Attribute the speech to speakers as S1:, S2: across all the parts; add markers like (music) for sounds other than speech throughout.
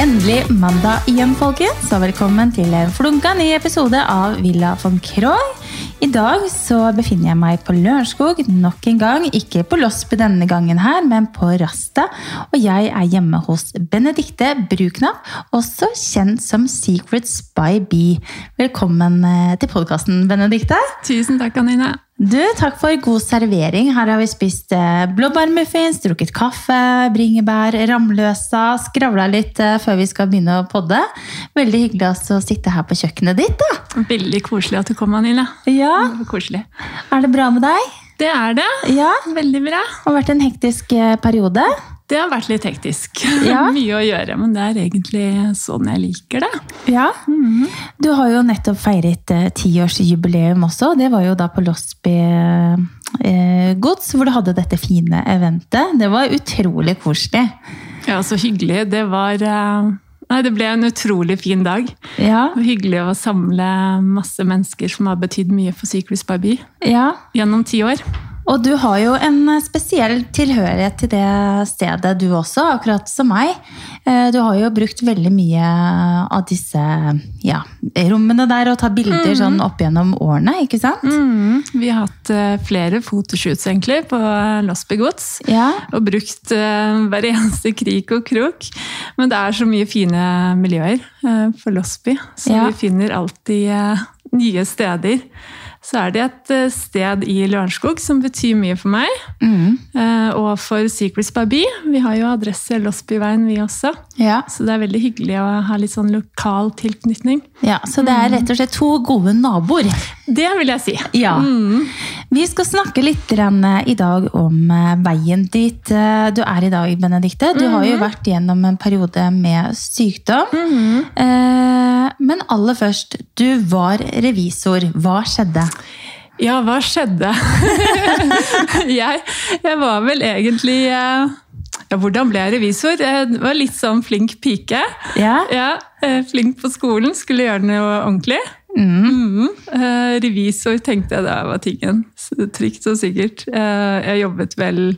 S1: endelig mandag igjen, folkens. Og velkommen til en flunka ny episode av Villa von Croix. I dag så befinner jeg meg på Lørenskog nok en gang. Ikke på Losby denne gangen her, men på Rasta. Og jeg er hjemme hos Benedikte Bruknapp, også kjent som Secrets by Bee. Velkommen eh, til podkasten, Benedikte.
S2: Tusen takk, Anine.
S1: Du, takk for god servering. Her har vi spist eh, blåbærmuffins, drukket kaffe, bringebær, ramløsa, skravla litt eh, før vi skal begynne å podde. Veldig hyggelig altså å sitte her på kjøkkenet ditt, da.
S2: Veldig koselig at du kom, Anine.
S1: Ja,
S2: Det var Koselig.
S1: er det bra med deg?
S2: Det er det.
S1: Ja,
S2: Veldig bra.
S1: det har vært en hektisk eh, periode.
S2: Det har vært litt hektisk. (laughs)
S1: Ja.
S2: Mye å gjøre, men det er egentlig sånn jeg liker det.
S1: Ja. Mhm. Du har jo nettopp feiret eh, tiårsjubileum også. Det var jo da på Losby eh, gods, hvor du hadde dette fine eventet. Det var utrolig koselig.
S2: Ja, så hyggelig. Det var eh, Nei, det ble en utrolig fin dag.
S1: Ja,
S2: Og hyggelig å samle masse mennesker som har betydd mye for Cyclus Baby
S1: ja.
S2: gjennom ti år.
S1: Og du har jo en eh, spesiell tilhørighet til det stedet du også, akkurat som meg. Eh, Du har jo brukt veldig mye av disse ja, rommene der og tatt bilder sånn opp gjennom årene, ikke sant?
S2: Mm, vi har hatt eh, flere fotoshoots egentlig på eh, Losby Gods.
S1: Ja,
S2: og brukt eh, hver eneste krik og krok. Men det er så mye fine miljøer eh, for Losby, så
S1: Ja.
S2: vi finner alltid eh, nye steder. Så er det et eh, sted i Lørenskog som betyr mye for meg,
S1: mm.
S2: eh, og for Secrets by Bee. Vi har jo adresse Losbyveien, vi også.
S1: ja.
S2: Så det er veldig hyggelig å ha litt sånn lokal tilknytning.
S1: ja. Så det er rett og slett to gode naboer.
S2: Det vil jeg si.
S1: Ja.
S2: Mm.
S1: Vi skal snakke litt grann, eh, i dag om eh, veien dit eh, du er i dag, Benedikte. Du har jo vært gjennom en periode med sykdom. Eh, Men aller først, du var revisor. Hva skjedde?
S2: Ja, hva skjedde? (laughs) jeg, jeg var vel egentlig eh, Ja, hvordan ble jeg revisor? Jeg var litt sånn flink pike.
S1: Ja.
S2: Ja, eh, Flink på skolen, skulle gjøre noe ordentlig.
S1: Mm.
S2: Mhm. Eh, Revisor tenkte jeg da var tingen. Så Trygt og sikkert. Eh, Jeg jobbet vel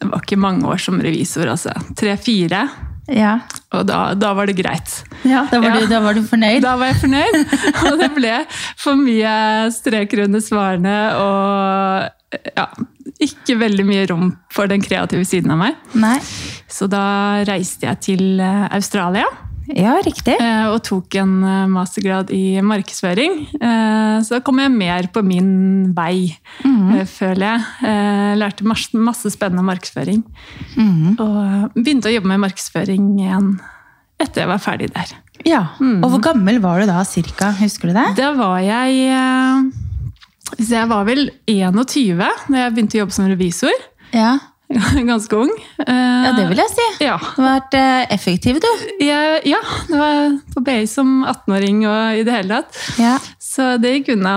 S2: Det var ikke mange år som revisor, altså. Tre-fire.
S1: Ja.
S2: Og da, da var det greit.
S1: Da, var
S2: Ja.
S1: Du, da var du fornøyd?
S2: (laughs) Da var jeg fornøyd, og det ble for mye streker under svarene og ja, ikke veldig mye rom for den kreative siden av meg.
S1: Nei.
S2: Så da reiste jeg til eh, Australia
S1: Ja, riktig.
S2: eh, og tok en eh, mastergrad i markedsføring. Eh, Så da kom jeg mer på min vei, eh, føler jeg. Eh, Lærte mas- masse spennende markedsføring.
S1: Mhm.
S2: Og eh, begynte å jobbe med markedsføring igjen etter jeg var ferdig der.
S1: Ja. Og hvor gammel var du da cirka? Husker du det?
S2: Da var jeg eh, Så jeg var vel 21 da jeg begynte å jobbe som revisor. (laughs)
S1: Ja,
S2: Ganske ung. Eh,
S1: ja det vil jeg si.
S2: Ja.
S1: Du har vært eh, effektiv, du.
S2: Jeg, ja, det var på BI som 18-åring og i det hele tatt.
S1: Ja.
S2: Så det gikk unna.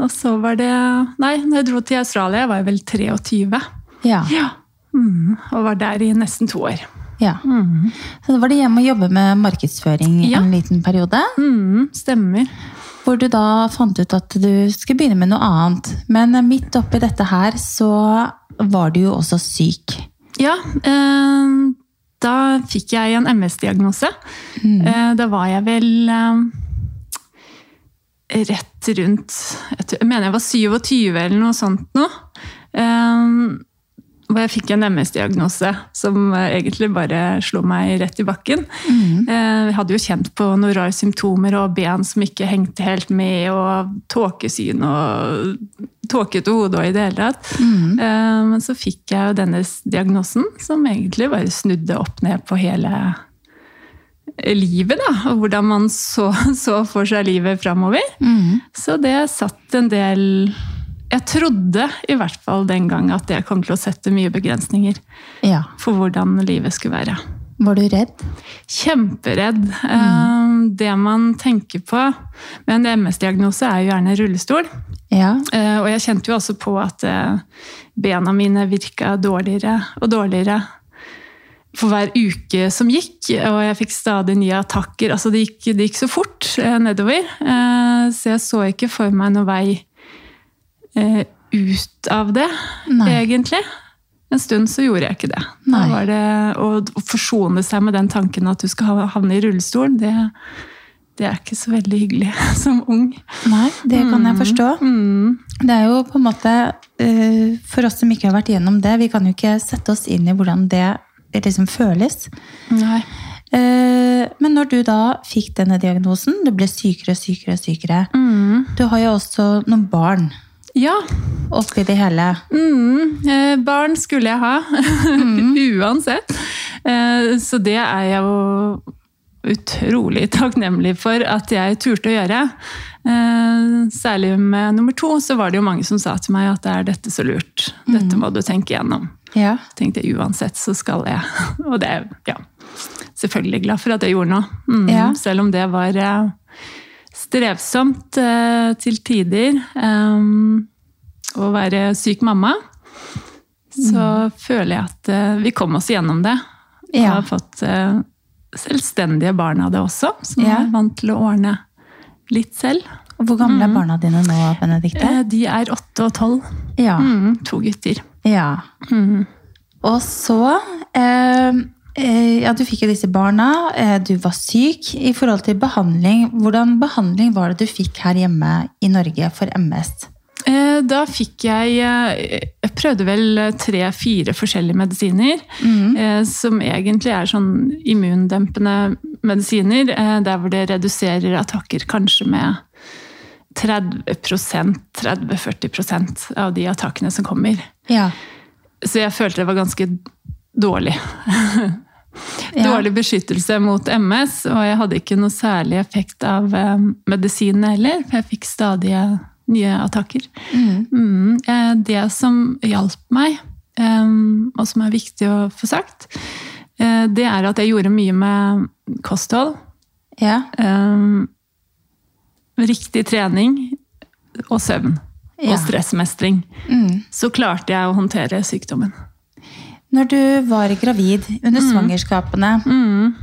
S2: Og så var det Nei, når jeg dro til Australia, var jeg vel 23.
S1: Ja.
S2: Ja. Mm, og var der i nesten to år.
S1: ja. Så da var det hjemme å jobbe med markedsføring i
S2: Mm. Ja.
S1: en liten periode.
S2: Mm, stemmer.
S1: Hvor du da fant ut at du skulle begynne med noe annet. Men eh, midt oppi dette her så var du jo også syk.
S2: Ja, eh, da fikk jeg en MS-diagnose. Eh, da var jeg vel eh, rett rundt jeg, tror, jeg mener jeg var 27 eller noe sånt nå. Eh, hvor jeg fikk en MS-diagnose som eh, egentlig bare slo meg rett i bakken. Eh, jeg hadde jo kjent på noen rare symptomer og ben som ikke hengte helt med, og tåkesyn og tåkete hode og i det hele tatt. Eh, men så fikk jeg jo denne s- diagnosen, som egentlig bare snudde opp ned på hele livet, da. Og hvordan man så, (laughs) så for seg livet framover. Så det satt en del Jeg trodde i hvert fall den gang at det kom til å sette mye begrensninger
S1: Ja.
S2: for hvordan livet skulle være.
S1: Var du redd?
S2: Kjemperedd. Eh, Det man tenker på med en MS-diagnose, er jo gjerne rullestol.
S1: Ja.
S2: Eh, Og jeg kjente jo også på at eh, bena mine virka dårligere og dårligere for hver uke som gikk. Og jeg fikk stadig nye attakker. Altså det gikk, det gikk så fort eh, nedover. Eh, Så jeg så ikke for meg noen vei eh, ut av det,
S1: Nei.
S2: egentlig. en stund så gjorde jeg ikke det. Da
S1: Nei.
S2: var det å å forsone seg med den tanken at du skal ha- havne i rullestolen, det, det er ikke så veldig hyggelig (laughs) som ung.
S1: Nei, det kan jeg forstå.
S2: Mm.
S1: Det er jo på en måte eh, For oss som ikke har vært gjennom det, vi kan jo ikke sette oss inn i hvordan det liksom føles.
S2: Nei.
S1: Eh, Men når du da fikk denne diagnosen, du ble sykere og sykere og sykere
S2: Mm.
S1: Du har jo også noen barn
S2: Ja.
S1: oppi det hele.
S2: Mm. Eh, barn skulle jeg ha, (laughs) uansett. Eh, så det er jeg jo utrolig takknemlig for at jeg turte å gjøre. Eh, særlig med nummer to så var det jo mange som sa til meg at er dette så lurt? Dette må du tenke gjennom.
S1: Ja.
S2: tenkte jeg uansett så skal jeg. (laughs) Og det er ja, selvfølgelig glad for at jeg gjorde noe. Mm,
S1: Ja.
S2: Selv om det var eh, strevsomt eh, til tider eh, å være syk mamma, så føler jeg at eh, vi kom oss gjennom det. Og
S1: Mm. Ja.
S2: har fått eh, selvstendige barn av det også, som
S1: Ja.
S2: er vant til å ordne litt selv.
S1: Og Hvor gamle er barna dine nå, Benedikte?
S2: Eh, de er åtte og tolv.
S1: Ja.
S2: Mm, to gutter.
S1: ja. Mm. Og så eh, eh, Ja, du fikk jo disse barna. eh, Du var syk. I forhold til behandling, hvordan behandling var det du fikk her hjemme i Norge for MS?
S2: Eh, Da fikk jeg eh, Jeg prøvde vel eh, tre-fire forskjellige medisiner. eh, Som egentlig er sånn immundempende medisiner. eh, Der hvor det reduserer attakker kanskje med 30 30-40 av de attakkene som kommer.
S1: Ja.
S2: Så jeg følte det var ganske dårlig.
S1: ja.
S2: Dårlig beskyttelse mot MS, og jeg hadde ikke noe særlig effekt av eh, medisinene heller, for jeg fikk stadig eh, nye attakker.
S1: Mm.
S2: Mm, eh, det som hjalp meg, em, og som er viktig å få sagt, eh, det er at jeg gjorde mye med kosthold.
S1: ja.
S2: em, riktig trening og søvn.
S1: Ja.
S2: Og stressmestring.
S1: Mm.
S2: Så klarte jeg å håndtere sykdommen.
S1: Når du var gravid under svangerskapene, Mm.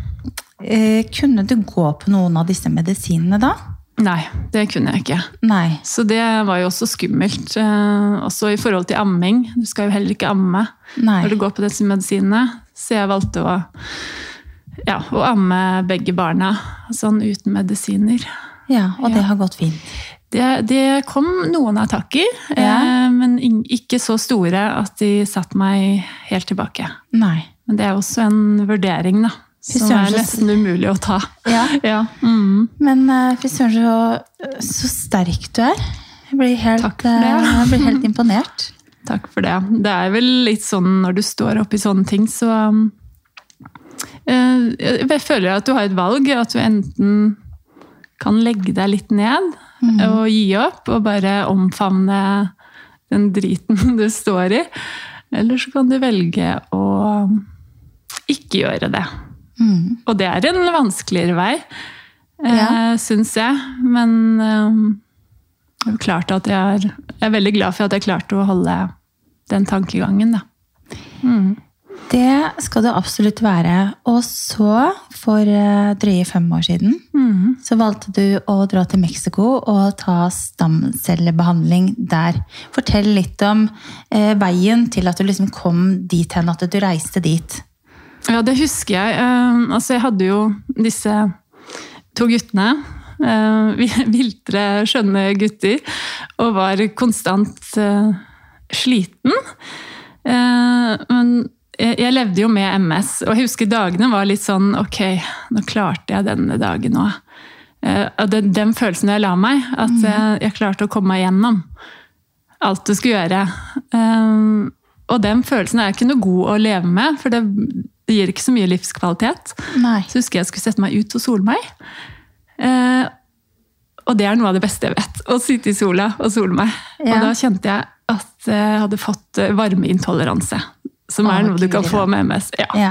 S1: eh, kunne du gå på noen av disse medisinene da?
S2: Nei, det kunne jeg ikke.
S1: Nei.
S2: Så det var jo også skummelt. eh, Også i forhold til amming. Du skal jo heller ikke amme
S1: Nei.
S2: når du går på disse medisinene. Så jeg valgte å, ja, å amme begge barna sånn uten medisiner.
S1: Ja, og det har gått fint.
S2: Det, det kom noen attakker,
S1: Ja.
S2: eh, men ing- ikke så store at de satte meg helt tilbake.
S1: Nei.
S2: Men det er også en vurdering, da.
S1: Fy
S2: Som
S1: søren,
S2: er
S1: så-
S2: nesten umulig å ta.
S1: Ja.
S2: (laughs) Ja. Mm.
S1: Men eh, fy søren, så, så sterk du er. Jeg blir helt,
S2: Takk for det.
S1: eh, jeg blir helt imponert.
S2: Takk for det. Det er vel litt sånn når du står oppi sånne ting, så um, eh, Jeg føler at du har et valg. At du enten kan legge deg litt ned og gi opp og bare omfavne den driten (laughs) du står i. Eller så kan du velge å ikke gjøre det.
S1: Mm.
S2: Og det er en vanskeligere vei,
S1: Ja.
S2: ja. syns jeg. Men eh, det er jo klart at jeg er, jeg er veldig glad for at jeg klarte å holde den tankegangen, da.
S1: Det skal du absolutt være. Og så, for eh, drøye fem år siden, så valgte du å dra til Mexico og ta stamcellebehandling der. Fortell litt om eh, veien til at du liksom kom dit hen, at du reiste dit.
S2: Ja, det husker jeg. Eh, altså, jeg hadde jo disse to guttene. eh, vi- (laughs) viltre, skjønne gutter. Og var konstant eh, sliten. Eh, men jeg, jeg levde jo med MS, og jeg husker dagene var litt sånn Ok, nå klarte jeg denne dagen òg. den, den følelsen jeg la meg, at jeg, jeg klarte å komme meg gjennom alt du skulle gjøre. Ehm, og den følelsen er ikke noe god å leve med, for det, det gir ikke så mye livskvalitet.
S1: Nei.
S2: Så husker jeg jeg skulle sette meg ut og sole meg. Eh, og det er noe av det beste jeg vet. Å sitte i sola og sole meg.
S1: Ja.
S2: Og da kjente jeg at jeg hadde fått eh, varmeintoleranse. Som
S1: Å,
S2: er noe du kan
S1: Guri,
S2: få med MS. Ja.
S1: Ja.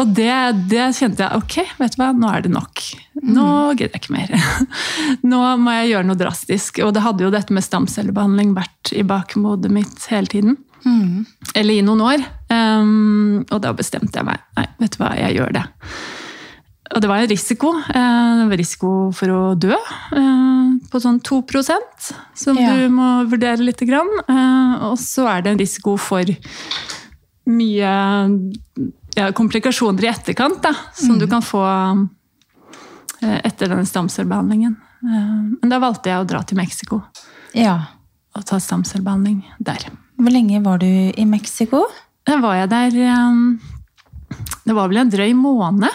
S2: Og det, det kjente jeg ok, vet du hva, nå er det nok.
S1: Mm.
S2: Nå gidder jeg ikke mer. (laughs) Nå må jeg gjøre noe drastisk. Og det hadde jo dette med stamcellebehandling vært i bakhodet mitt hele tiden.
S1: Mm.
S2: Eller i noen år. Ehm, og da bestemte jeg meg. Nei, vet du hva, jeg gjør det. Og det var en risiko. Eh, det var risiko for å dø eh, på sånn 2 som
S1: Ja.
S2: du må vurdere lite grann. Eh, og så er det en risiko for mye ja, komplikasjoner i etterkant, da, som du kan få eh, etter denne stamcellebehandlingen. Eh, Men da valgte jeg å dra til Mexico
S1: Ja.
S2: og ta stamcellebehandling der.
S1: Hvor lenge var du i Mexico?
S2: Da var jeg der eh, Det var vel en drøy måned,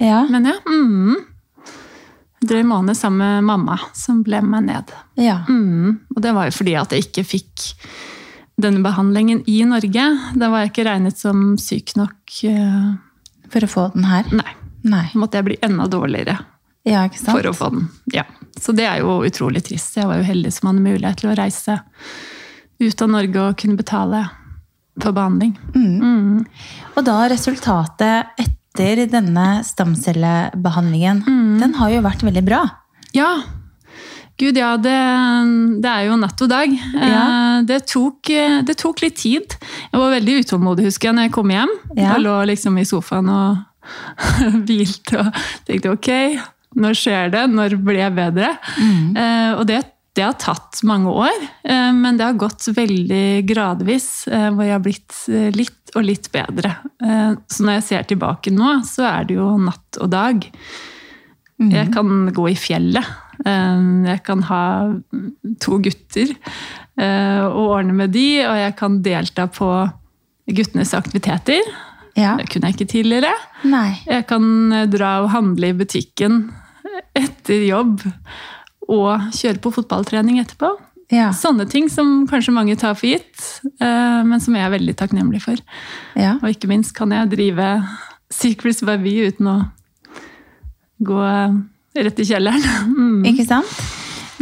S1: Ja.
S2: mener jeg. Mm. En Drøy måned sammen med mamma, som ble med meg ned.
S1: ja.
S2: Mm. Og det var jo fordi at jeg ikke fikk denne behandlingen i Norge. Da var jeg ikke regnet som syk nok. eh,
S1: For å få den her?
S2: Nei.
S1: Nei.
S2: Da måtte jeg bli enda dårligere
S1: Ja, ikke sant?
S2: for å få den. Ja. Så det er jo utrolig trist. Jeg var jo heldig som hadde mulighet til å reise ut av Norge og kunne betale for behandling.
S1: Og da resultatet etter denne stamcellebehandlingen, den har jo vært veldig bra.
S2: Ja. Gud, ja, det, det er jo natt og dag.
S1: Ja.
S2: Eh, Det, tok, eh, det tok litt tid. Jeg var veldig utålmodig, husker jeg, når jeg kom hjem.
S1: Ja.
S2: Og lå liksom i sofaen (laughs) og hvilte og tenkte ok, når skjer det? Når blir jeg bedre?
S1: Mm.
S2: Eh, Og det, det har tatt mange år, eh, men det har gått veldig gradvis, eh, hvor jeg har blitt eh, litt og litt bedre. Eh, Så når jeg ser tilbake nå, så er det jo natt og dag. Jeg kan gå i fjellet. Eh, Jeg kan ha to gutter eh, og ordne med de, og jeg kan delta på guttenes aktiviteter.
S1: Ja.
S2: Det kunne jeg ikke tidligere.
S1: Nei.
S2: Jeg kan eh, dra og handle i butikken etter jobb og kjøre på fotballtrening etterpå.
S1: Ja.
S2: Sånne ting som kanskje mange tar for gitt, eh, men som jeg er veldig takknemlig for.
S1: ja.
S2: Og ikke minst kan jeg drive Secrets by Bee uten å gå eh, rett i kjelleren. (laughs) Mm.
S1: Ikke sant?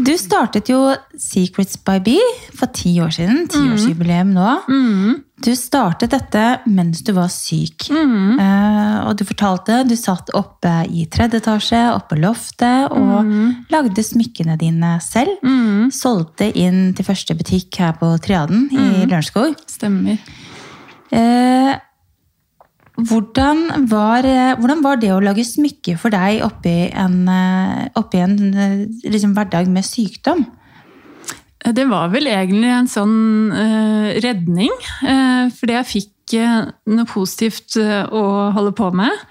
S1: Du startet jo Secrets by Bee for ti år siden. Tiårsjubileum nå. Du startet dette mens du var syk. Eh, og du fortalte du satt oppe i tredje etasje, oppe på loftet, og lagde smykkene dine selv. Mm. Solgte inn til første butikk her på Triaden i Lørenskog.
S2: Stemmer.
S1: Eh, hvordan, var, eh, hvordan var det å lage smykke for deg oppi en, eh, oppi en eh, liksom, hverdag med sykdom?
S2: Det var vel egentlig en sånn eh, redning, eh, fordi jeg fikk eh, noe positivt eh, å holde på med.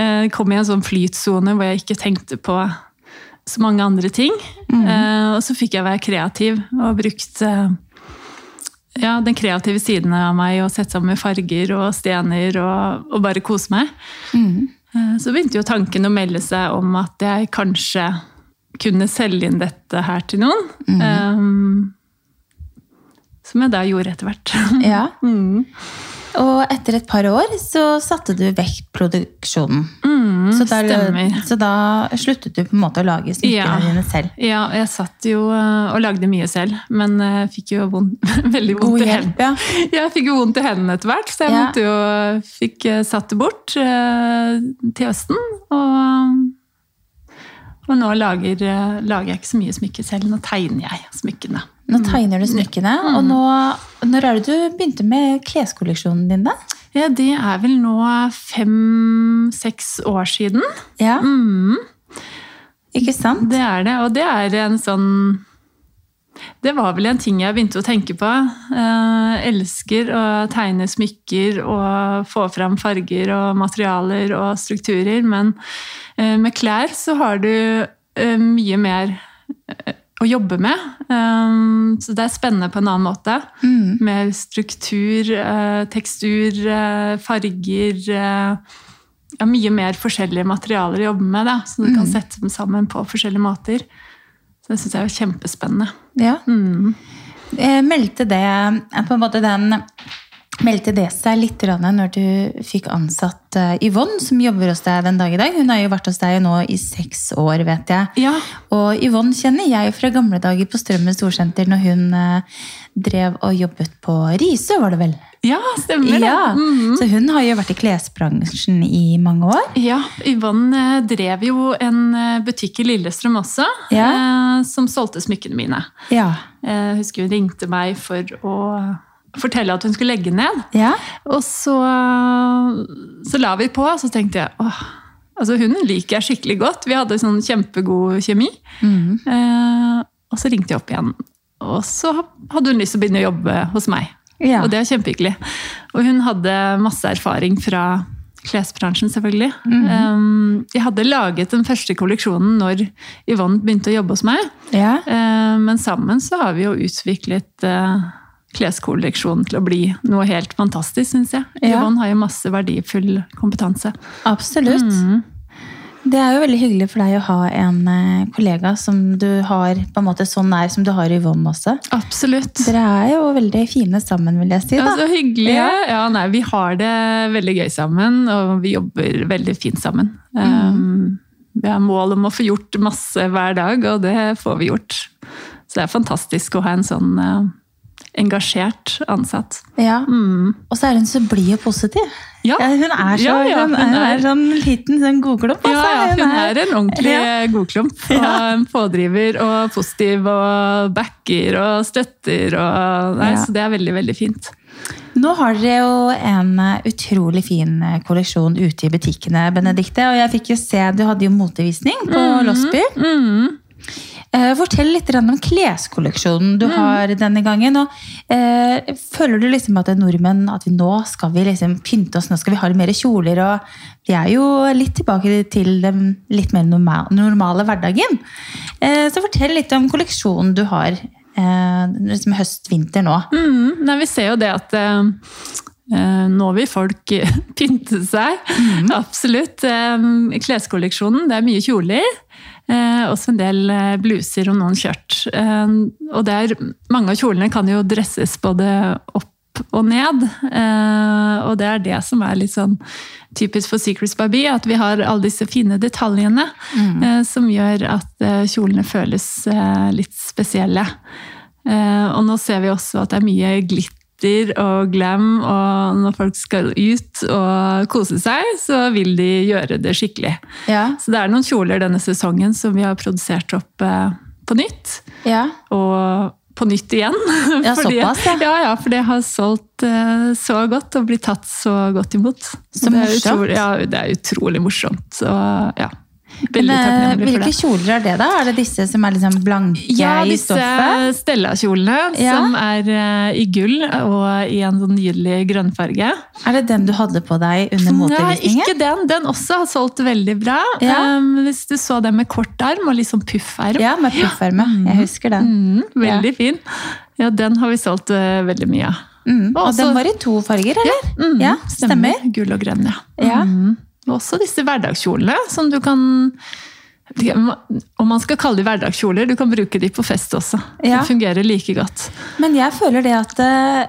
S2: Eh, kom i en sånn flytsone hvor jeg ikke tenkte på så mange andre ting. Eh, og så fikk jeg være kreativ og brukt eh, ja, den kreative siden av meg og sette sammen med farger og stener og, og bare kose meg.
S1: Mm.
S2: Eh, Så begynte jo tanken å melde seg om at jeg kanskje kunne selge inn dette her til noen.
S1: Mm.
S2: Ehm, som jeg da gjorde etter
S1: (laughs)
S2: hvert. Mm.
S1: Ja. Og etter et par år så satte du vekk produksjonen. så, da,
S2: stemmer.
S1: så da sluttet du på en måte å lage smykkene
S2: Ja.
S1: dine selv.
S2: Ja, jeg satt jo eh, og lagde mye selv, men jeg fikk jo vond, veldig
S1: God
S2: vondt (laughs) i
S1: hjelp,
S2: hendene.
S1: ja.
S2: (laughs) Jeg fikk jo vondt i hendene etter hvert, så jeg
S1: Ja.
S2: måtte jo, fikk eh, satt det bort eh, til høsten. Og, og nå lager, eh, lager jeg ikke så mye smykker selv, nå tegner jeg smykkene.
S1: Nå tegner du smykkene, og nå, når er det du begynte med kleskolleksjonen din, da?
S2: Ja, det er vel nå fem-seks år siden.
S1: Ja,
S2: Mm,
S1: ikke sant?
S2: det er det, og det er en sånn Det var vel en ting jeg begynte å tenke på. Eh, elsker å tegne smykker og få fram farger og materialer og strukturer, men eh, med klær så har du eh, mye mer eh, å jobbe med. Eh, så det er spennende på en annen måte.
S1: Mm.
S2: Med struktur, eh, tekstur, eh, farger eh, ja, Mye mer forskjellige materialer å jobbe med, da, så du kan sette dem sammen på forskjellige måter. Så det syns jeg er kjempespennende.
S1: Ja.
S2: Mm.
S1: Eh, Meldte det eh, på en måte den Meldte det seg litt grann når du fikk ansatt eh, Yvonne, som jobber hos deg den dag i dag? Hun har jo vært hos deg nå i seks år, vet jeg.
S2: Ja.
S1: Og Yvonne kjenner jeg fra gamle dager på Strømmen storsenter, når hun eh, drev og jobbet på Risø, var det vel?
S2: Ja, stemmer det.
S1: Ja.
S2: Mm.
S1: Så hun har jo vært i klesbransjen i mange år.
S2: Ja, Yvonne eh, drev jo en eh, butikk i Lillestrøm også,
S1: Ja.
S2: eh, som solgte smykkene mine.
S1: Ja.
S2: Eh, Jeg husker hun ringte meg for å fortelle at hun skulle legge ned.
S1: Ja.
S2: Og så, så la vi på, så tenkte jeg åh, altså hun liker jeg skikkelig godt. Vi hadde sånn kjempegod kjemi. Eh, og så ringte jeg opp igjen. Og så hadde hun lyst til å begynne å jobbe hos meg.
S1: Ja.
S2: Og det er kjempehyggelig. Og hun hadde masse erfaring fra klesbransjen, selvfølgelig. Um, jeg hadde laget den første kolleksjonen når Yvonne begynte å jobbe hos meg.
S1: Ja.
S2: Eh, Men sammen så har vi jo utviklet eh, kleskolleksjonen til å bli noe helt fantastisk, syns jeg.
S1: Ja.
S2: Yvonne har jo masse verdifull kompetanse.
S1: Absolutt.
S2: Mm.
S1: Det er jo veldig hyggelig for deg å ha en eh, kollega som du har på en måte så nær som du har Yvonne også.
S2: Absolutt.
S1: Dere er jo veldig fine sammen, vil jeg si.
S2: Ja,
S1: da.
S2: så hyggelig. Ja.
S1: Ja.
S2: nei, vi har det veldig gøy sammen, og vi jobber veldig fint sammen. Um, vi har mål om å få gjort masse hver dag, og det får vi gjort. Så det er fantastisk å ha en sånn eh, engasjert ansatt.
S1: Ja.
S2: Mm.
S1: Og så er hun så blid og positiv.
S2: Ja.
S1: Ja, hun er så,
S2: Ja, ja,
S1: hun
S2: hun
S1: er, hun
S2: er-
S1: er sånn liten sånn godklump.
S2: Ja,
S1: altså.
S2: ja, hun er en ordentlig
S1: Ja.
S2: godklump. Og en pådriver og positiv og backer og støtter og Nei,
S1: Ja.
S2: så det er veldig, veldig fint.
S1: Nå har dere jo en eh, utrolig fin eh, kolleksjon ute i butikkene, Benedikte. Og jeg fikk jo se, du hadde jo motevisning på Losby. Eh, Fortell litt grann om kleskolleksjonen du har denne gangen. Og, eh, føler du liksom at nordmenn at vi nå skal vi liksom pynte oss, nå skal vi ha litt mer kjoler? og Vi er jo litt tilbake til den litt mer norma- normale hverdagen. Eh, Så fortell litt om kolleksjonen du har eh, liksom høst-vinter nå.
S2: Mm, nei, vi ser jo det at eh, eh, nå vil folk (laughs) pynte seg. Absolutt. Eh, kleskolleksjonen, det er mye kjoler. Eh, også en del eh, bluser og noen skjørt. Eh, og det er, mange av kjolene kan jo dresses både opp og ned. Eh, og det er det som er litt sånn typisk for Secrets by Bee, at vi har alle disse fine detaljene eh, som gjør at eh, kjolene føles eh, litt spesielle. Eh, og nå ser vi også at det er mye glitter og glam, og når folk skal ut og kose seg, så vil de gjøre det skikkelig.
S1: Ja,
S2: Så det er noen kjoler denne sesongen som vi har produsert opp eh, på nytt.
S1: ja.
S2: Og på nytt igjen. (laughs)
S1: Ja,
S2: Fordi-
S1: såpass, ja.
S2: ja. ja, for det har solgt eh, så godt og blitt tatt så godt imot.
S1: Så
S2: Det er
S1: morsomt.
S2: Utrolig, ja, det er utrolig morsomt. Og ja, veldig
S1: Men, eh,
S2: takknemlig for
S1: Hvilke
S2: det.
S1: kjoler er det, da? Er det disse som er liksom blanke
S2: Ja,
S1: i
S2: disse
S1: stoffet?
S2: Stella-kjolene
S1: Ja.
S2: som er eh, i gull og i en sånn nydelig grønnfarge.
S1: Er det den du hadde på deg under
S2: Nei,
S1: motevisningen?
S2: ikke den. Den også har solgt veldig bra.
S1: Ja.
S2: Um, hvis du så den med kort arm og litt sånn pufferm.
S1: Ja, med pufferme. Jeg husker den.
S2: Mm, veldig fin. Ja, den har vi solgt eh, veldig mye av.
S1: Mm. Og
S2: Også-
S1: den var i to farger, eller?
S2: Mm,
S1: Ja, stemmer.
S2: Gull og grønn, ja.
S1: Ja.
S2: Mm. Og også disse hverdagskjolene som du kan jeg vet ikke Om man skal kalle de hverdagskjoler, du kan bruke de på fest også.
S1: Ja.
S2: Det fungerer like godt.
S1: Men jeg føler det at eh,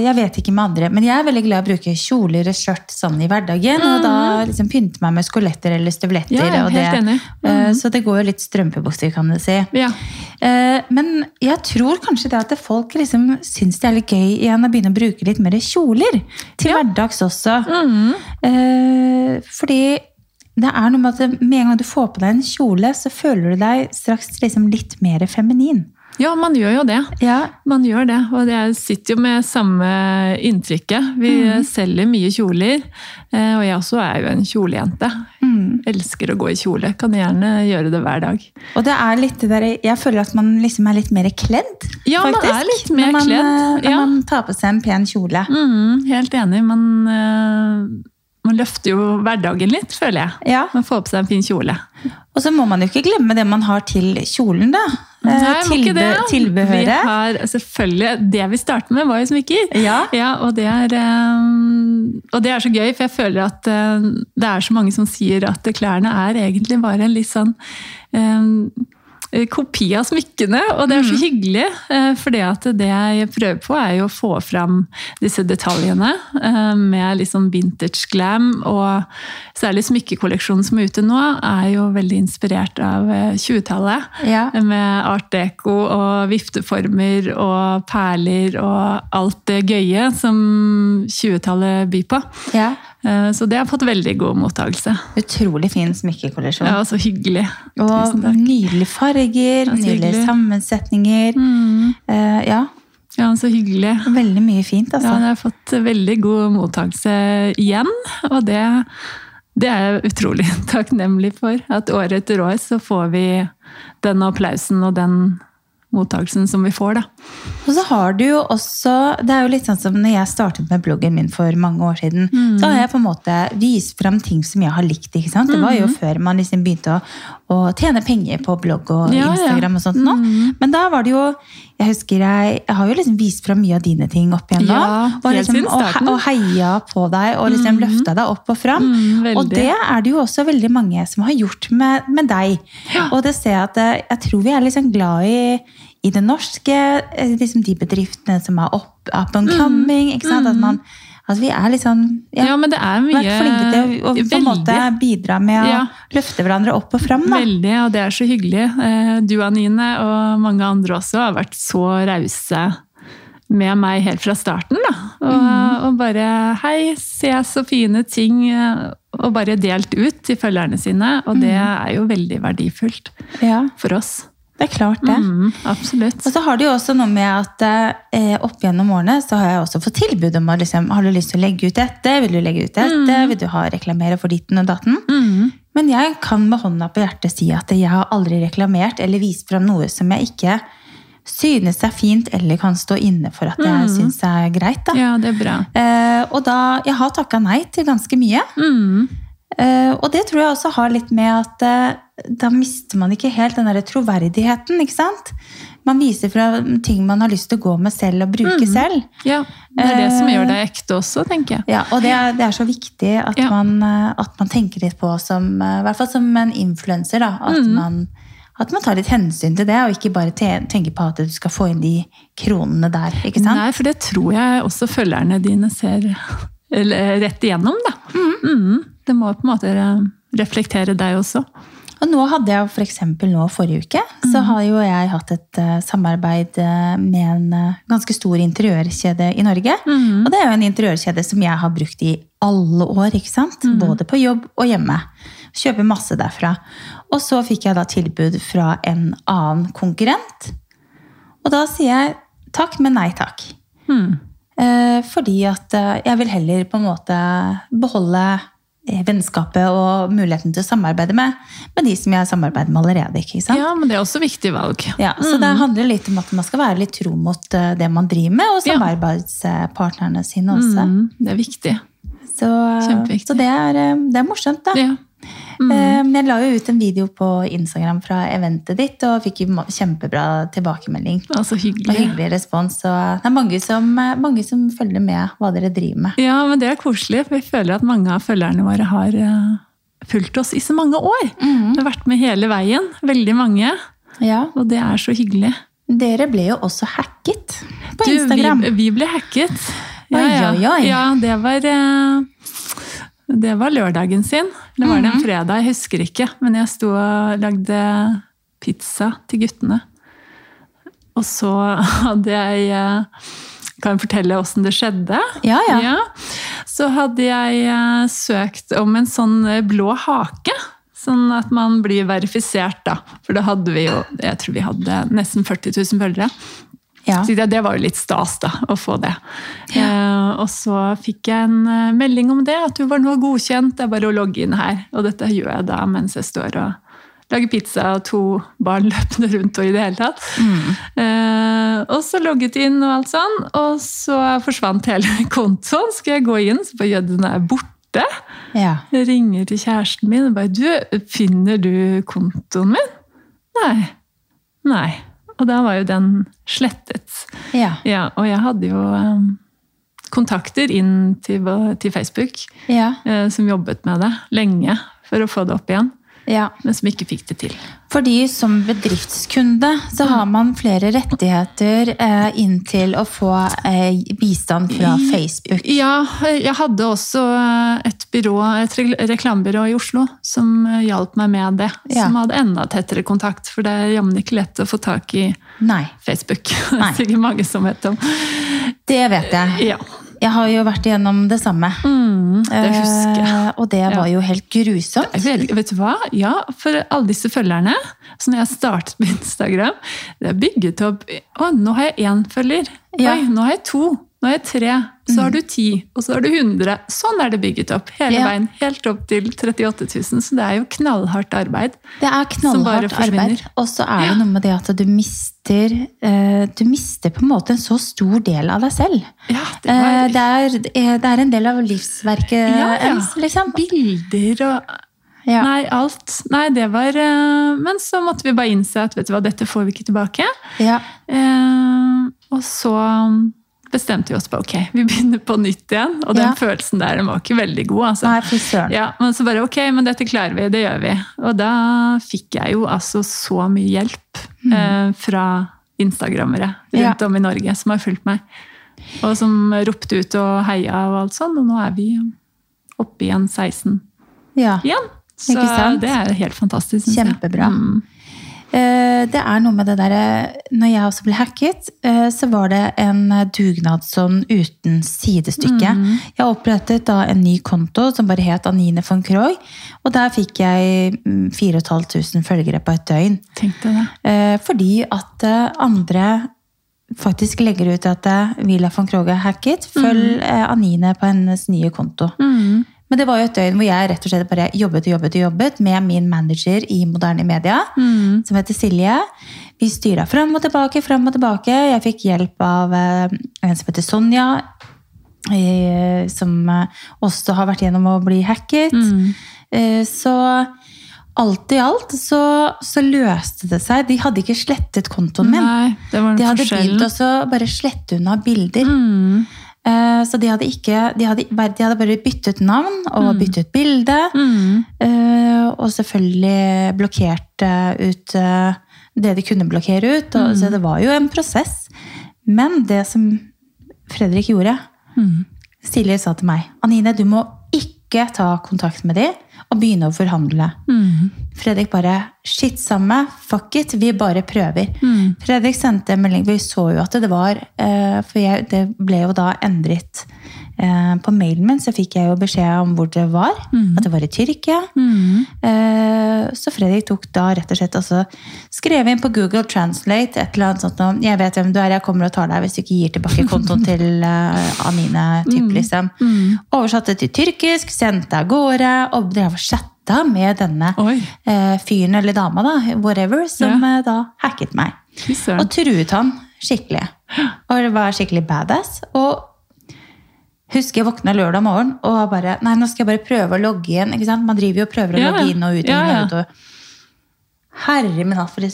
S1: Jeg vet ikke med andre, men jeg er veldig glad i å bruke kjoler og skjørt sånn i hverdagen. Og da liksom pynte meg med skoletter eller støvletter.
S2: Mm. Ja, ja,
S1: og
S2: helt
S1: det.
S2: enig. Mm.
S1: Eh, Så det går jo litt strømpebukser, kan du si.
S2: Ja.
S1: Eh, Men jeg tror kanskje det at folk liksom syns det er litt gøy igjen å begynne å bruke litt mer kjoler til hverdags også.
S2: Mm. Mhm.
S1: Eh, Fordi det er noe med at med en gang du får på deg en kjole, så føler du deg straks liksom litt mer feminin.
S2: ja, man gjør jo det.
S1: Ja,
S2: Man gjør det, og jeg sitter jo med samme inntrykket. Vi selger mye kjoler, eh, og jeg også er jo en kjolejente.
S1: Mm.
S2: Elsker å gå i kjole. Kan gjerne gjøre det hver dag.
S1: Og det er litt det der, jeg føler at man liksom er litt mer kledd,
S2: Ja, man
S1: faktisk.
S2: er litt mer
S1: når man,
S2: kledd,
S1: eh, Når
S2: ja.
S1: man tar på seg en pen kjole.
S2: Mm, helt enig. Man, eh, man løfter jo hverdagen litt, føler jeg.
S1: Ja,
S2: Man får på seg en fin kjole.
S1: Og så må man jo ikke glemme det man har til kjolen, da. Eh,
S2: Nei, må ikke det. Vi
S1: Tilbehøret.
S2: har selvfølgelig Det vi starter med, var jo smykker.
S1: Ja.
S2: og, det er, eh, og det er så gøy, for jeg føler at eh, det er så mange som sier at klærne er egentlig bare en litt sånn eh, kopi av smykkene, og det er
S1: Mm.
S2: så hyggelig. eh, For det at det jeg prøver på, er jo å få fram disse detaljene eh, med litt sånn vintage glam. Og særlig smykkekolleksjonen som er ute nå, er jo veldig inspirert av eh, 20-tallet.
S1: Ja.
S2: Med art deco og vifteformer og perler og alt det gøye som 20-tallet byr på.
S1: ja.
S2: Eh, Så det har fått veldig god mottakelse.
S1: Utrolig fin smykkekolleksjon.
S2: Ja, så hyggelig.
S1: Og nydelige farger,
S2: Ja, så
S1: nydelige
S2: hyggelig. Mm.
S1: sammensetninger. Eh, ja,
S2: Ja, så hyggelig.
S1: veldig mye fint,
S2: Ja,
S1: altså.
S2: det har fått veldig god mottakelse igjen, og det, det er jeg utrolig (laughs) takknemlig for. At år etter år så får vi den applausen og den mottakelsen som vi får, da.
S1: Og så har du jo også Det er jo litt sånn som når jeg startet med bloggen min for mange år siden.
S2: Mm.
S1: Så har jeg på en måte vist fram ting som jeg har likt. ikke sant? Det var jo
S2: Mm.
S1: før man liksom begynte å, å tjene penger på blogg og
S2: Ja, Mm. ja.
S1: Instagram og sånt. nå. Men da var det jo Jeg husker jeg, jeg har jo liksom vist fram mye av dine ting opp igjen da.
S2: Ja,
S1: og,
S2: helt
S1: liksom,
S2: siden
S1: og, he-
S2: starten.
S1: og heia på deg og liksom løfta deg opp og fram.
S2: Mm,
S1: og
S2: veldig.
S1: det er det jo også veldig mange som har gjort med, med deg. Og det ser jeg at eh, jeg tror vi er liksom glad i, i det norske, eh, liksom de bedriftene som er up, up and coming. ikke sant? At, man, at vi er liksom
S2: Mm. Ja,
S1: ja,
S2: men det er mye
S1: vært flinke til å, å på en måte
S2: Veldig.
S1: bidra med å
S2: Ja.
S1: løfte hverandre opp og fram. da.
S2: Veldig, og det er så hyggelig. Eh, Du, Anine, og mange andre også har vært så rause med meg helt fra starten. Da. Og,
S1: Mhm.
S2: og bare 'hei, se så fine ting', eh, og bare delt ut til følgerne sine. Og det
S1: Mhm.
S2: er jo veldig verdifullt
S1: Ja,
S2: for oss.
S1: det er klart det.
S2: Mm, absolutt.
S1: Og så har det jo også noe med at eh, opp gjennom årene så har jeg også fått tilbud om å liksom, har du lyst til å legge ut dette, vil du legge ut dette, vil du ha reklamere for ditten og datten?
S2: Mm.
S1: Men jeg kan med hånda på hjertet si at jeg har aldri reklamert eller vist fram noe som jeg ikke synes er fint eller kan stå inne for at jeg synes er greit. Da.
S2: Mm. Ja, det er bra.
S1: Eh, og da, jeg har takka nei til ganske mye.
S2: Mm.
S1: Eh, og det tror jeg også har litt med at eh, da mister man ikke helt den der troverdigheten, ikke sant? Man viser fra ting man har lyst til å gå med selv og
S2: Mm.
S1: bruke selv.
S2: Ja, det er det som
S1: Eh.
S2: gjør deg ekte også, tenker jeg.
S1: Ja, og det er, det er så viktig at,
S2: Ja.
S1: man, eh, at man tenker litt på som eh, I hvert fall som en influenser, da. At,
S2: Mm.
S1: man, at man tar litt hensyn til det, og ikke bare te tenker på at du skal få inn de kronene der. ikke sant?
S2: Nei, for det tror jeg også følgerne dine ser eller, rett igjennom, da.
S1: Mhm.
S2: Mm. Det må på en måte eh, reflektere deg også.
S1: Og nå hadde jeg for eksempel nå forrige uke, så har jo jeg hatt et eh, samarbeid eh, med en eh, ganske stor interiørkjede i Norge. Og det er jo en interiørkjede som jeg har brukt i alle år, ikke sant? Både på jobb og hjemme. Kjøper masse derfra. Og så fikk jeg da tilbud fra en annen konkurrent. Og da sier jeg takk, men nei takk.
S2: Hmm.
S1: Eh, fordi at eh, jeg vil heller på en måte beholde eh, vennskapet og muligheten til å samarbeide med, med de som jeg samarbeider med allerede. ikke sant?
S2: Ja, Hmm. men det er også viktig valg.
S1: Ja, så det handler litt om at man skal være litt tro mot eh, det man driver med, og
S2: Ja.
S1: samarbeidspartnerne sine også.
S2: Mm, det er viktig.
S1: Så, eh,
S2: Kjempeviktig.
S1: så det, er, eh, det er morsomt, da.
S2: Ja. Hmm.
S1: Eh, men Jeg la jo ut en video på Instagram fra eventet ditt, og fikk jo ma- kjempebra tilbakemelding.
S2: Altså
S1: Og
S2: hyggelig.
S1: hyggelig respons. Og det er mange som, eh, mange som følger med hva dere driver med.
S2: Ja, men det er koselig, for jeg føler at mange av følgerne våre har eh, fulgt oss i så mange år.
S1: Mhm.
S2: Vi har vært med hele veien, veldig mange,
S1: Ja.
S2: og det er så hyggelig.
S1: Dere ble jo også hacket på
S2: Du,
S1: Instagram.
S2: Vi, vi ble hacket.
S1: Oi, oi, oi.
S2: ja det var eh, Det var lørdagen sin. Eller var det
S1: Mhm.
S2: en fredag? Jeg husker ikke. Men jeg sto og lagde pizza til guttene. Og så hadde jeg eh, Kan jeg fortelle åssen det skjedde?
S1: Ja, ja.
S2: Så hadde jeg eh, søkt om en sånn eh, blå hake. Sånn at man blir verifisert, da. For da hadde vi jo Jeg tror vi hadde nesten 40 000 følgere.
S1: Ja.
S2: Så det, det var jo litt stas da, å få det. Eh, og så fikk jeg en eh, melding om det, at du var nå godkjent, det er bare å logge inn her. Og dette gjør jeg da mens jeg står og lager pizza og to barn (laughs) løpende rundt og i det hele tatt. Eh, og så logget inn og alt sånn, og så forsvant hele (laughs) kontoen. Skal jeg gå inn, så bare gjør den er borte.
S1: ja.
S2: Jeg ringer til kjæresten min og bare Du, finner du kontoen min? Nei. Nei. Og da var jo den slettet.
S1: Ja.
S2: Ja, og jeg hadde jo em, kontakter inn til, vår- til Facebook
S1: ja.
S2: eh, som jobbet med det lenge for å få det opp igjen,
S1: ja.
S2: men som ikke fikk det til.
S1: Fordi som bedriftskunde
S2: Mm.
S1: så har man flere rettigheter eh, inntil å få eh, bistand fra
S2: Mm.
S1: Facebook.
S2: Ja, jeg hadde også eh, et byrå, et re- reklamebyrå i Oslo som hjalp meg med det.
S1: Ja.
S2: Som hadde enda tettere kontakt, for det er jammen ikke lett å få tak i
S1: Nei,
S2: Facebook. (laughs) Det
S1: Nei.
S2: er sikkert mange som vet om.
S1: det vet jeg.
S2: Ja,
S1: Jeg har jo vært igjennom det samme.
S2: Mm, det husker jeg.
S1: Eh, og det var jo helt grusomt.
S2: Jeg vet- Vet du hva? Ja, for alle disse følgerne, så når jeg startet på Instagram, det er bygget opp Å, nå har jeg én følger.
S1: Ja. Mhm.
S2: Oi, nå har jeg to. nå er jeg tre, så har du ti, og så har du 100. Sånn er det bygget opp hele
S1: Ja.
S2: veien. Helt opp til 38 000, så det er jo knallhardt arbeid.
S1: Det er
S2: Som bare
S1: knallhardt arbeid.
S2: forsvinner.
S1: Og så er det noe med det at du mister eh, Du mister på en måte en så stor del av deg selv.
S2: Ja, det
S1: Eh,
S2: var
S1: Det er, eh, det er en del av livsverket
S2: Ja, ja.
S1: ens, liksom.
S2: bilder og
S1: Ja.
S2: Nei, alt. Nei, det var eh, Men så måtte vi bare innse at vet du hva, dette får vi ikke tilbake.
S1: Ja.
S2: Eh, og så bestemte vi oss på ok, vi begynner på nytt igjen. Og den
S1: Ja.
S2: følelsen der den var ikke veldig god. altså.
S1: Nei, fy søren.
S2: Ja, men så bare ok, men dette klarer vi, det gjør vi. Og da fikk jeg jo altså så mye hjelp
S1: Mm.
S2: eh, fra instagrammere rundt om i Norge som har fulgt meg. Og som ropte ut og heia og alt sånn, og nå er vi oppe igjen 16
S1: Ja.
S2: igjen. Så
S1: Ikke sant?
S2: det er jo helt fantastisk. synes jeg.
S1: Kjempebra.
S2: Mm.
S1: Eh, Det er noe med det derre Når jeg også ble hacket, eh, så var det en dugnadsånd uten sidestykke.
S2: Mhm.
S1: Jeg opprettet da en ny konto som bare het Anine von Krogh. Og der fikk jeg mm, 4500 følgere på et døgn.
S2: Tenkte det.
S1: Eh, Fordi at eh, andre faktisk legger ut at eh, Villa von Krogh er hacket. Følg eh, Anine på hennes nye konto. Men det var jo et døgn hvor jeg rett og slett bare jobbet og jobbet og jobbet med min manager i Moderne Media, som heter Silje. Vi styra fram og tilbake, fram og tilbake. Jeg fikk hjelp av eh, en som heter Sonja, eh, som eh, også har vært gjennom å bli hacket.
S2: Mm.
S1: Eh, Så alt i alt så, så løste det seg. De hadde ikke slettet kontoen min.
S2: Nei, det var
S1: De
S2: den
S1: hadde
S2: forskjellen.
S1: begynt også bare slette unna bilder.
S2: Mm.
S1: Eh, Så de hadde, ikke, de, hadde, bare- de hadde bare byttet navn og byttet bilde.
S2: Mm.
S1: eh, Og selvfølgelig blokkert eh, ut eh, det de kunne blokkere ut. Og, Så det var jo en prosess. Men det som Fredrik gjorde Silje sa til meg Anine, du må ikke ta kontakt med de og begynne å forhandle. Fredrik bare Shit, samme. Fuck it. Vi bare prøver. Fredrik sendte en melding. Vi så jo at det var eh, For jeg, det ble jo da endret. Eh, På mailen min så fikk jeg jo beskjed om hvor det var. At det var i Tyrkia. Eh, Så Fredrik tok da rett og slett altså, skrev inn på Google Translate et eller annet sånt om Jeg vet hvem du er, jeg kommer og tar deg hvis du ikke gir tilbake kontoen til eh, Anine. Typ, liksom. Oversatte til tyrkisk, sendte av gårde og drev og chatta med denne
S2: Oi.
S1: eh, fyren eller dama, da, whatever, som eh, da hacket meg.
S2: Fy
S1: Og
S2: søren.
S1: truet han skikkelig. Og det var skikkelig badass. Og husker jeg våkna lørdag morgen og bare Nei, nå skal jeg bare prøve å logge igjen. ikke sant? Man driver jo og prøver å
S2: Ja,
S1: logge inn og ut.
S2: ja,
S1: inn
S2: ja.
S1: og ut og... Herre min hatt, for det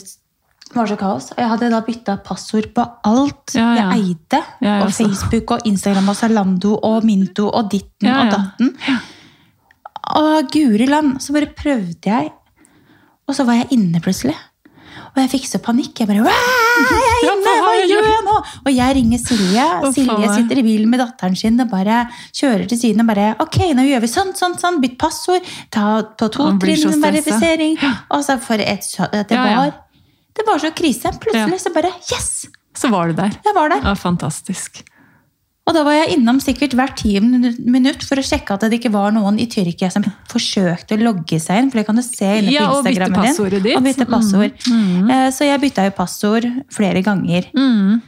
S1: var så kaos. Og jeg hadde da bytta passord på alt
S2: Ja, ja.
S1: jeg eide.
S2: Ja, jeg
S1: og
S2: også.
S1: Facebook og Instagram og Zalando og Minto og ditten
S2: Ja,
S1: og
S2: ja.
S1: datten. Og guri land, så bare prøvde jeg. Og så var jeg inne plutselig. Og jeg fikk så panikk. Jeg bare, «Wow, jeg er
S2: Ja,
S1: inne, hva
S2: faen.
S1: gjør jeg nå? Og jeg ringer Silje.
S2: Å,
S1: Silje
S2: faen.
S1: sitter i bilen med datteren sin og bare kjører til siden og bare, ok, nå gjør vi sånn, sånn, sånn, bytt passord, ta på to
S2: Man blir så
S1: trinn
S2: stresset.
S1: verifisering. Og så for et, så- det
S2: Ja, ja.
S1: var, det var så krise. Plutselig så bare, yes,
S2: Så var du der.
S1: jeg var der.
S2: Ja, fantastisk.
S1: Og da var jeg innom sikkert hvert tiende minutt for å sjekke at det ikke var noen i Tyrkia som forsøkte å logge seg inn, for det kan du se inne på
S2: Ja, og bytte
S1: Instagrammen din.
S2: passordet ditt. Mm,
S1: Og bytte passord. Eh, Så jeg bytta jo passord flere ganger.
S2: Mm.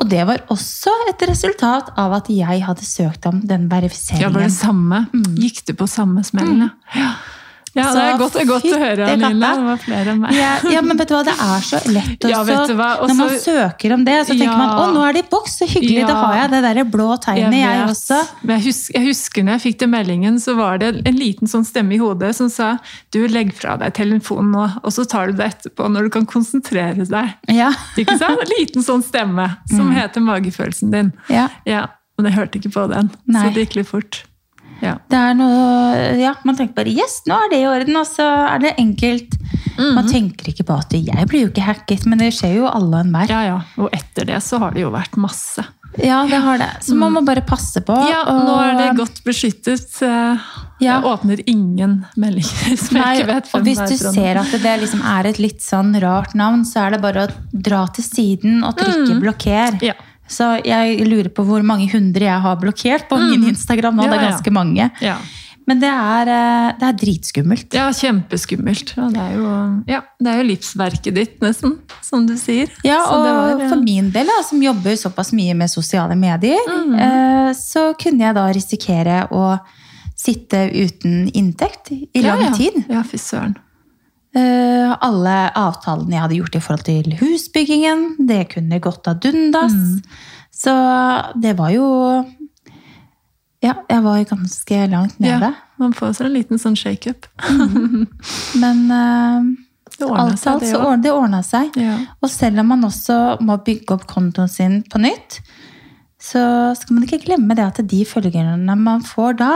S1: Og det var også et resultat av at jeg hadde søkt om den
S2: Ja, var det
S1: verifiseringen.
S2: samme? Gikk du på samme smellen? Ja. ja, det
S1: Mm. Så
S2: er godt, det er godt å høre,
S1: fytti
S2: Anilla.
S1: katta.
S2: Det var flere enn meg.
S1: Ja, ja, men vet du hva, det er så lett også.
S2: (laughs) Ja, vet du hva, og
S1: Når man
S2: så-
S1: søker om det, så tenker
S2: Ja.
S1: man å, nå er det i boks, så hyggelig, da
S2: Ja.
S1: har jeg det derre blå tegnet, jeg,
S2: vet.
S1: også.
S2: Men jeg husker, jeg husker når jeg fikk den meldingen, så var det en liten sånn stemme i hodet som sa du, legg fra deg telefonen nå, og så tar du det etterpå når du kan konsentrere deg.
S1: Ja.
S2: Ikke sant? En liten sånn stemme som heter magefølelsen din.
S1: Mm. ja.
S2: Ja, men jeg hørte ikke på den,
S1: Nei.
S2: så det gikk litt fort. Ja.
S1: Det er noe, ja, Man tenker bare yes, nå er det i orden, og så er det enkelt.
S2: Mhm.
S1: Man tenker ikke på at jeg blir jo ikke hacket, men det skjer jo alle og enhver.
S2: ja, ja. Og etter det så har det jo vært masse.
S1: Ja, det har det. Så man må bare passe på.
S2: Mhm. Ja, nå er det
S1: og-
S2: godt beskyttet. eh,
S1: Ja.
S2: Jeg åpner ingen meldinger (laughs) som jeg
S1: Nei,
S2: ikke vet
S1: og
S2: hvem
S1: hvis
S2: er
S1: du
S2: fra.
S1: ser at det liksom er et litt sånn rart navn, så er det bare å dra til siden og trykke 'blokker'.
S2: Mhm. Ja.
S1: Så jeg lurer på hvor mange hundre jeg har blokkert på min Instagram nå.
S2: Mhm. Ja,
S1: det er
S2: ja.
S1: ganske mange.
S2: Ja.
S1: Men det er, eh, det er dritskummelt.
S2: Ja, kjempeskummelt. Og det er jo, ja, det er jo livsverket ditt, nesten, som du sier.
S1: Ja,
S2: Så
S1: og
S2: det var, eh, ja.
S1: for min del, da, som jobber såpass mye med sosiale medier,
S2: Mm.
S1: eh, så kunne jeg da risikere å sitte uten inntekt i lang
S2: ja, ja.
S1: tid.
S2: Ja, fy søren.
S1: Eh, alle avtalene jeg hadde gjort i forhold til husbyggingen, det kunne gått ad undas.
S2: Mm.
S1: Så det var jo Ja, jeg var ganske langt nede.
S2: Ja, man får seg en liten sånn shake-up.
S1: Men eh,
S2: Det ordnet
S1: alt i
S2: seg,
S1: alt
S2: det
S1: så
S2: også.
S1: ordnet det ordna seg.
S2: Ja.
S1: Og selv om man også må bygge opp kontoen sin på nytt, så skal man ikke glemme det at de følgerne man får da,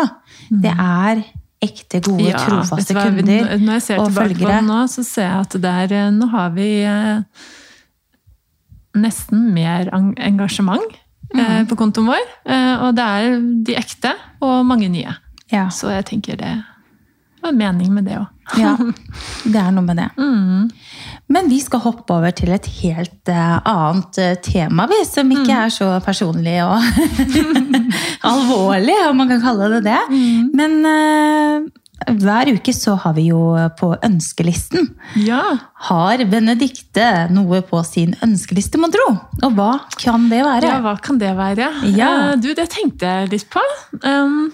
S1: det er ekte, gode,
S2: Mm. Ja, vet
S1: trofaste
S2: du hva,
S1: kunder
S2: n- Når jeg ser
S1: og
S2: tilbake på
S1: følgere.
S2: den nå, så ser jeg at det er, eh, nå har vi eh, nesten mer en- engasjement
S1: Mm.
S2: eh, på kontoen vår. Eh, og det er de ekte og mange nye.
S1: Ja,
S2: Så jeg tenker det var mening med det òg.
S1: ja, det er noe med det.
S2: Mm.
S1: Men vi skal hoppe over til et helt eh, annet eh, tema, vi, som ikke
S2: Mm.
S1: er så personlig og (laughs) alvorlig, om man kan kalle det det.
S2: Mm.
S1: Men eh, hver uke så har vi jo på ønskelisten
S2: Ja.
S1: Har Benedikte noe på sin ønskeliste, må tro? Og hva kan det være?
S2: ja, hva kan det være?
S1: Ja.
S2: Eh, du, det tenkte jeg litt på. Um,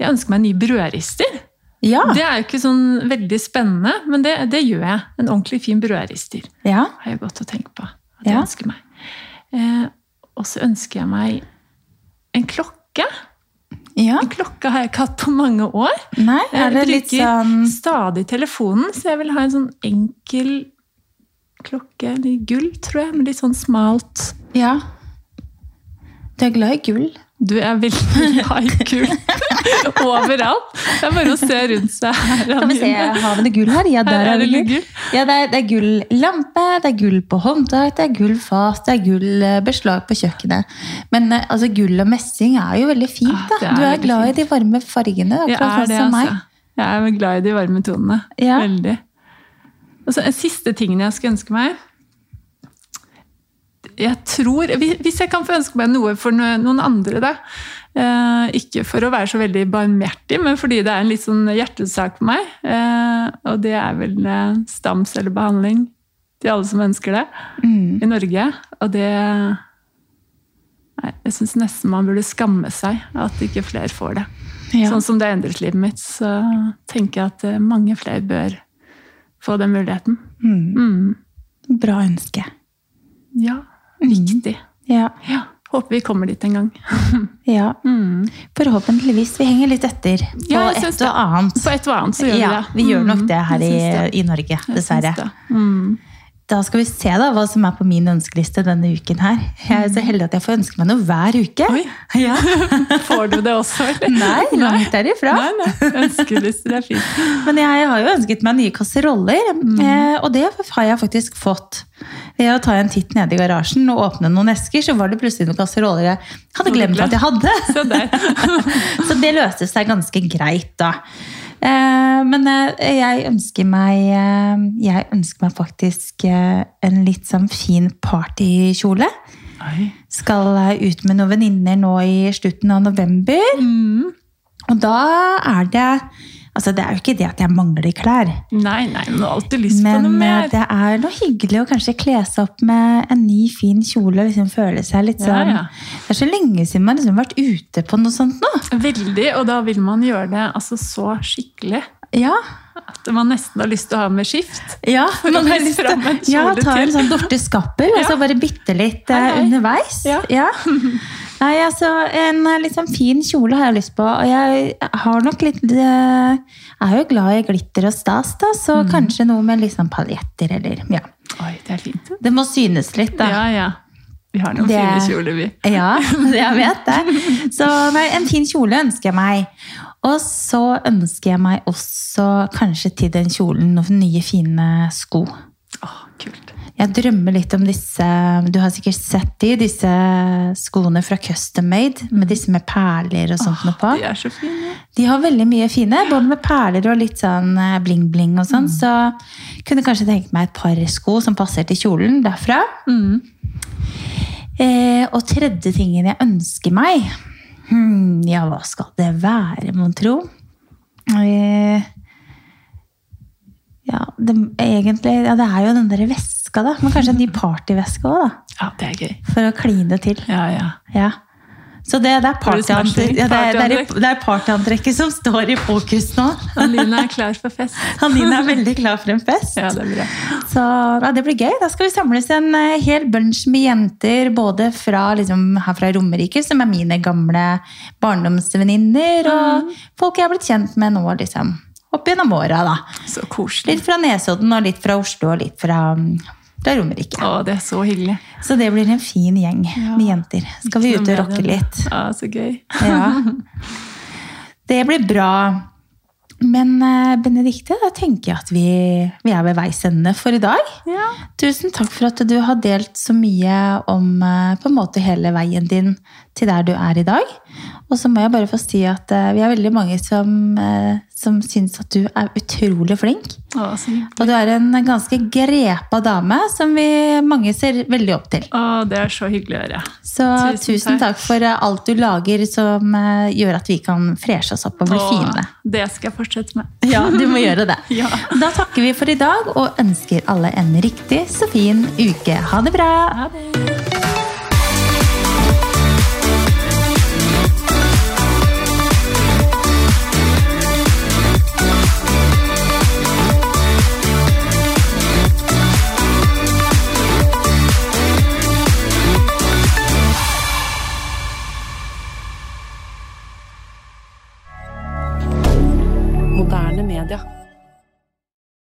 S2: jeg ønsker meg en ny brødrister.
S1: Ja.
S2: Det er jo ikke sånn veldig spennende, men det, det gjør jeg. En ordentlig fin brødrister
S1: ja.
S2: har jeg gått og tenkt på at jeg
S1: Ja.
S2: ønsker meg. Eh, og så ønsker jeg meg en klokke.
S1: ja.
S2: En klokke har jeg ikke hatt på mange år.
S1: Nei, er det
S2: jeg
S1: litt
S2: bruker
S1: sånn
S2: stadig telefonen, så jeg vil ha en sånn enkel klokke i gull, tror jeg, med litt sånn smalt
S1: Ja. Du er glad i gull?
S2: Du er (laughs) veldig glad i gull (laughs) overalt. Det er bare å se rundt seg her.
S1: Skal vi se, har vi noe gull her? Ja,
S2: Her
S1: der
S2: er
S1: har vi
S2: det litt
S1: gull.
S2: gull.
S1: Ja, det er, det er gulllampe, det er gull på håndtak, det er gullfat, det er gullbeslag på kjøkkenet. Men eh, altså, gull og messing er jo veldig fint,
S2: Ja, Ah,
S1: da.
S2: det er
S1: Du er
S2: veldig
S1: glad i de varme fargene,
S2: Jeg
S1: akkurat
S2: er
S1: sånn
S2: det,
S1: som meg.
S2: altså. Jeg er glad i de varme tonene.
S1: Ja.
S2: Veldig. Og så en siste tingen jeg skulle ønske meg jeg tror, hvi- Hvis jeg kan få ønske meg noe for no- noen andre, da. Eh, ikke for å være så veldig barmhjertig, men fordi det er en litt sånn hjertesak for meg. Eh, og det er vel eh, stamcellebehandling til alle som ønsker det i Norge. Og det Nei, jeg syns nesten man burde skamme seg at ikke flere får det.
S1: Ja.
S2: Sånn som det har endret livet mitt, så tenker jeg at eh, mange flere bør få den muligheten. Mm.
S1: Bra ønske.
S2: Ja,
S1: Mm.
S2: viktig.
S1: Ja.
S2: Ja. Håper vi kommer dit en gang.
S1: Ja,
S2: Mm.
S1: forhåpentligvis. Vi henger litt etter på
S2: Ja, jeg
S1: et
S2: syns
S1: og annet.
S2: På et og annet så gjør
S1: Ja,
S2: vi det.
S1: vi gjør nok
S2: Mm.
S1: det her i,
S2: Jeg syns det.
S1: i Norge,
S2: Jeg syns
S1: dessverre.
S2: det. Mm.
S1: Da skal vi se da hva som er på min ønskeliste denne uken her. Jeg er så heldig at jeg får ønske meg noe hver uke.
S2: Mm. Oi.
S1: Ja.
S2: (laughs) Får du det også,
S1: (laughs)
S2: eller?
S1: Nei, langt derifra.
S2: Nei, nei. Ønskelister er fint.
S1: Men jeg har jo ønsket meg nye kasseroller,
S2: Mm.
S1: eh, og det har jeg faktisk fått. Ved å ta en titt nede i garasjen og åpne noen esker, så var det plutselig noen kasseroller jeg hadde glemt at jeg hadde.
S2: Se der.
S1: Så det løste seg ganske greit, da. Eh, Men eh, jeg ønsker meg eh, Jeg ønsker meg faktisk eh, en litt sånn fin partykjole.
S2: Oi.
S1: Skal eh, ut med noen venninner nå i slutten av november.
S2: Mm.
S1: Og da er det Altså, det er jo ikke det at jeg mangler klær.
S2: Nei, nei, men du har alltid lyst på
S1: Men
S2: noe
S1: eh,
S2: mer.
S1: det er noe hyggelig å kanskje kle seg opp med en ny, fin kjole og liksom føle seg litt
S2: Ja,
S1: sånn
S2: ja.
S1: Det er så lenge siden man liksom har vært ute på noe sånt nå.
S2: Veldig, og da vil man gjøre det altså, så skikkelig
S1: Ja,
S2: at man nesten har lyst til å ha med skift.
S1: Ja,
S2: å
S1: man har
S2: vise
S1: lyst til
S2: fram en kjole
S1: ja, ta en
S2: til.
S1: sånn Dorte Skappel, og
S2: Ja.
S1: så bare bitte litt eh,
S2: Hei, hei.
S1: underveis.
S2: Ja. (laughs)
S1: Nei, altså, en eh, litt sånn fin kjole har jeg lyst på, og jeg har nok litt eh, er jo glad i glitter og stas, da, så
S2: Mm.
S1: kanskje noe med litt sånn paljetter eller Ja.
S2: Oi, det er fint.
S1: Det må synes litt, da.
S2: Ja, ja. Vi har noen
S1: Det-
S2: fine kjoler, vi.
S1: (laughs) Ja, (laughs) jeg vet det.
S2: (laughs)
S1: Så nei, en fin kjole ønsker jeg meg. Og så ønsker jeg meg også kanskje til den kjolen noen nye, fine sko.
S2: Å, kult.
S1: Jeg drømmer litt om disse Du har sikkert sett de, disse skoene fra Custom Made, med disse med perler og sånt noe på.
S2: De er så fine.
S1: De har veldig mye fine, både med perler og litt sånn bling-bling og sånn, så jeg kunne kanskje tenke meg et par sko som passer til kjolen derfra. Eh, og tredje tingen jeg ønsker meg Hm, ja, hva skal det være, mon tro? Eh, Ja, det, egentlig, ja, det er jo den der veska, da. Men kanskje en ny partyveske òg, da.
S2: Ja, det er gøy.
S1: For å kline til.
S2: Ja, ja.
S1: Ja. Så det, det er
S2: Partyantrekk,
S1: partyantrekk- ja, det er- det er-
S2: partyantrekk.
S1: det er partyantrekket som står i fokus nå. (laughs)
S2: Aline er klar for (laughs) fest.
S1: Hanine er veldig klar for en fest.
S2: Ja, det er bra.
S1: Så ja, det blir gøy. Da skal vi samles en eh, hel bunch med jenter, både fra, liksom, her fra Romerike, som er mine gamle barndomsvenninner,
S2: Mm.
S1: og folk jeg har blitt kjent med nå, liksom. Opp gjennom åra, da.
S2: Så koselig.
S1: Litt fra Nesodden, og litt fra Oslo, og litt fra, mm, fra Romerike.
S2: Å, det er så hyggelig.
S1: Så det blir en fin gjeng med jenter. Skal vi ut og rocke litt?
S2: Ja, så gøy.
S1: Ja. Det blir bra. Men eh, Benedikte, da tenker jeg at vi, vi er ved veis ende for i dag.
S2: Ja.
S1: Tusen takk for at du har delt så mye om eh, på en måte hele veien din til der du er i dag. Og så må jeg bare få si at eh, vi er veldig mange som, eh, som syns at du er utrolig flink.
S2: Å, så hyggelig.
S1: Og du er en ganske grepa dame som vi mange ser veldig opp til.
S2: Å, det er så hyggelig å høre.
S1: Så tusen,
S2: Tusen
S1: takk.
S2: takk.
S1: for eh, alt du lager som eh, gjør at vi kan freshe oss opp og bli
S2: Å,
S1: fine. (laughs)
S2: Det skal jeg fortsette med.
S1: Ja, du må gjøre det.
S2: (laughs) Ja.
S1: Da takker vi for i dag og ønsker alle en riktig så fin uke. Ha det bra!
S2: Ha det.
S3: Moderne media.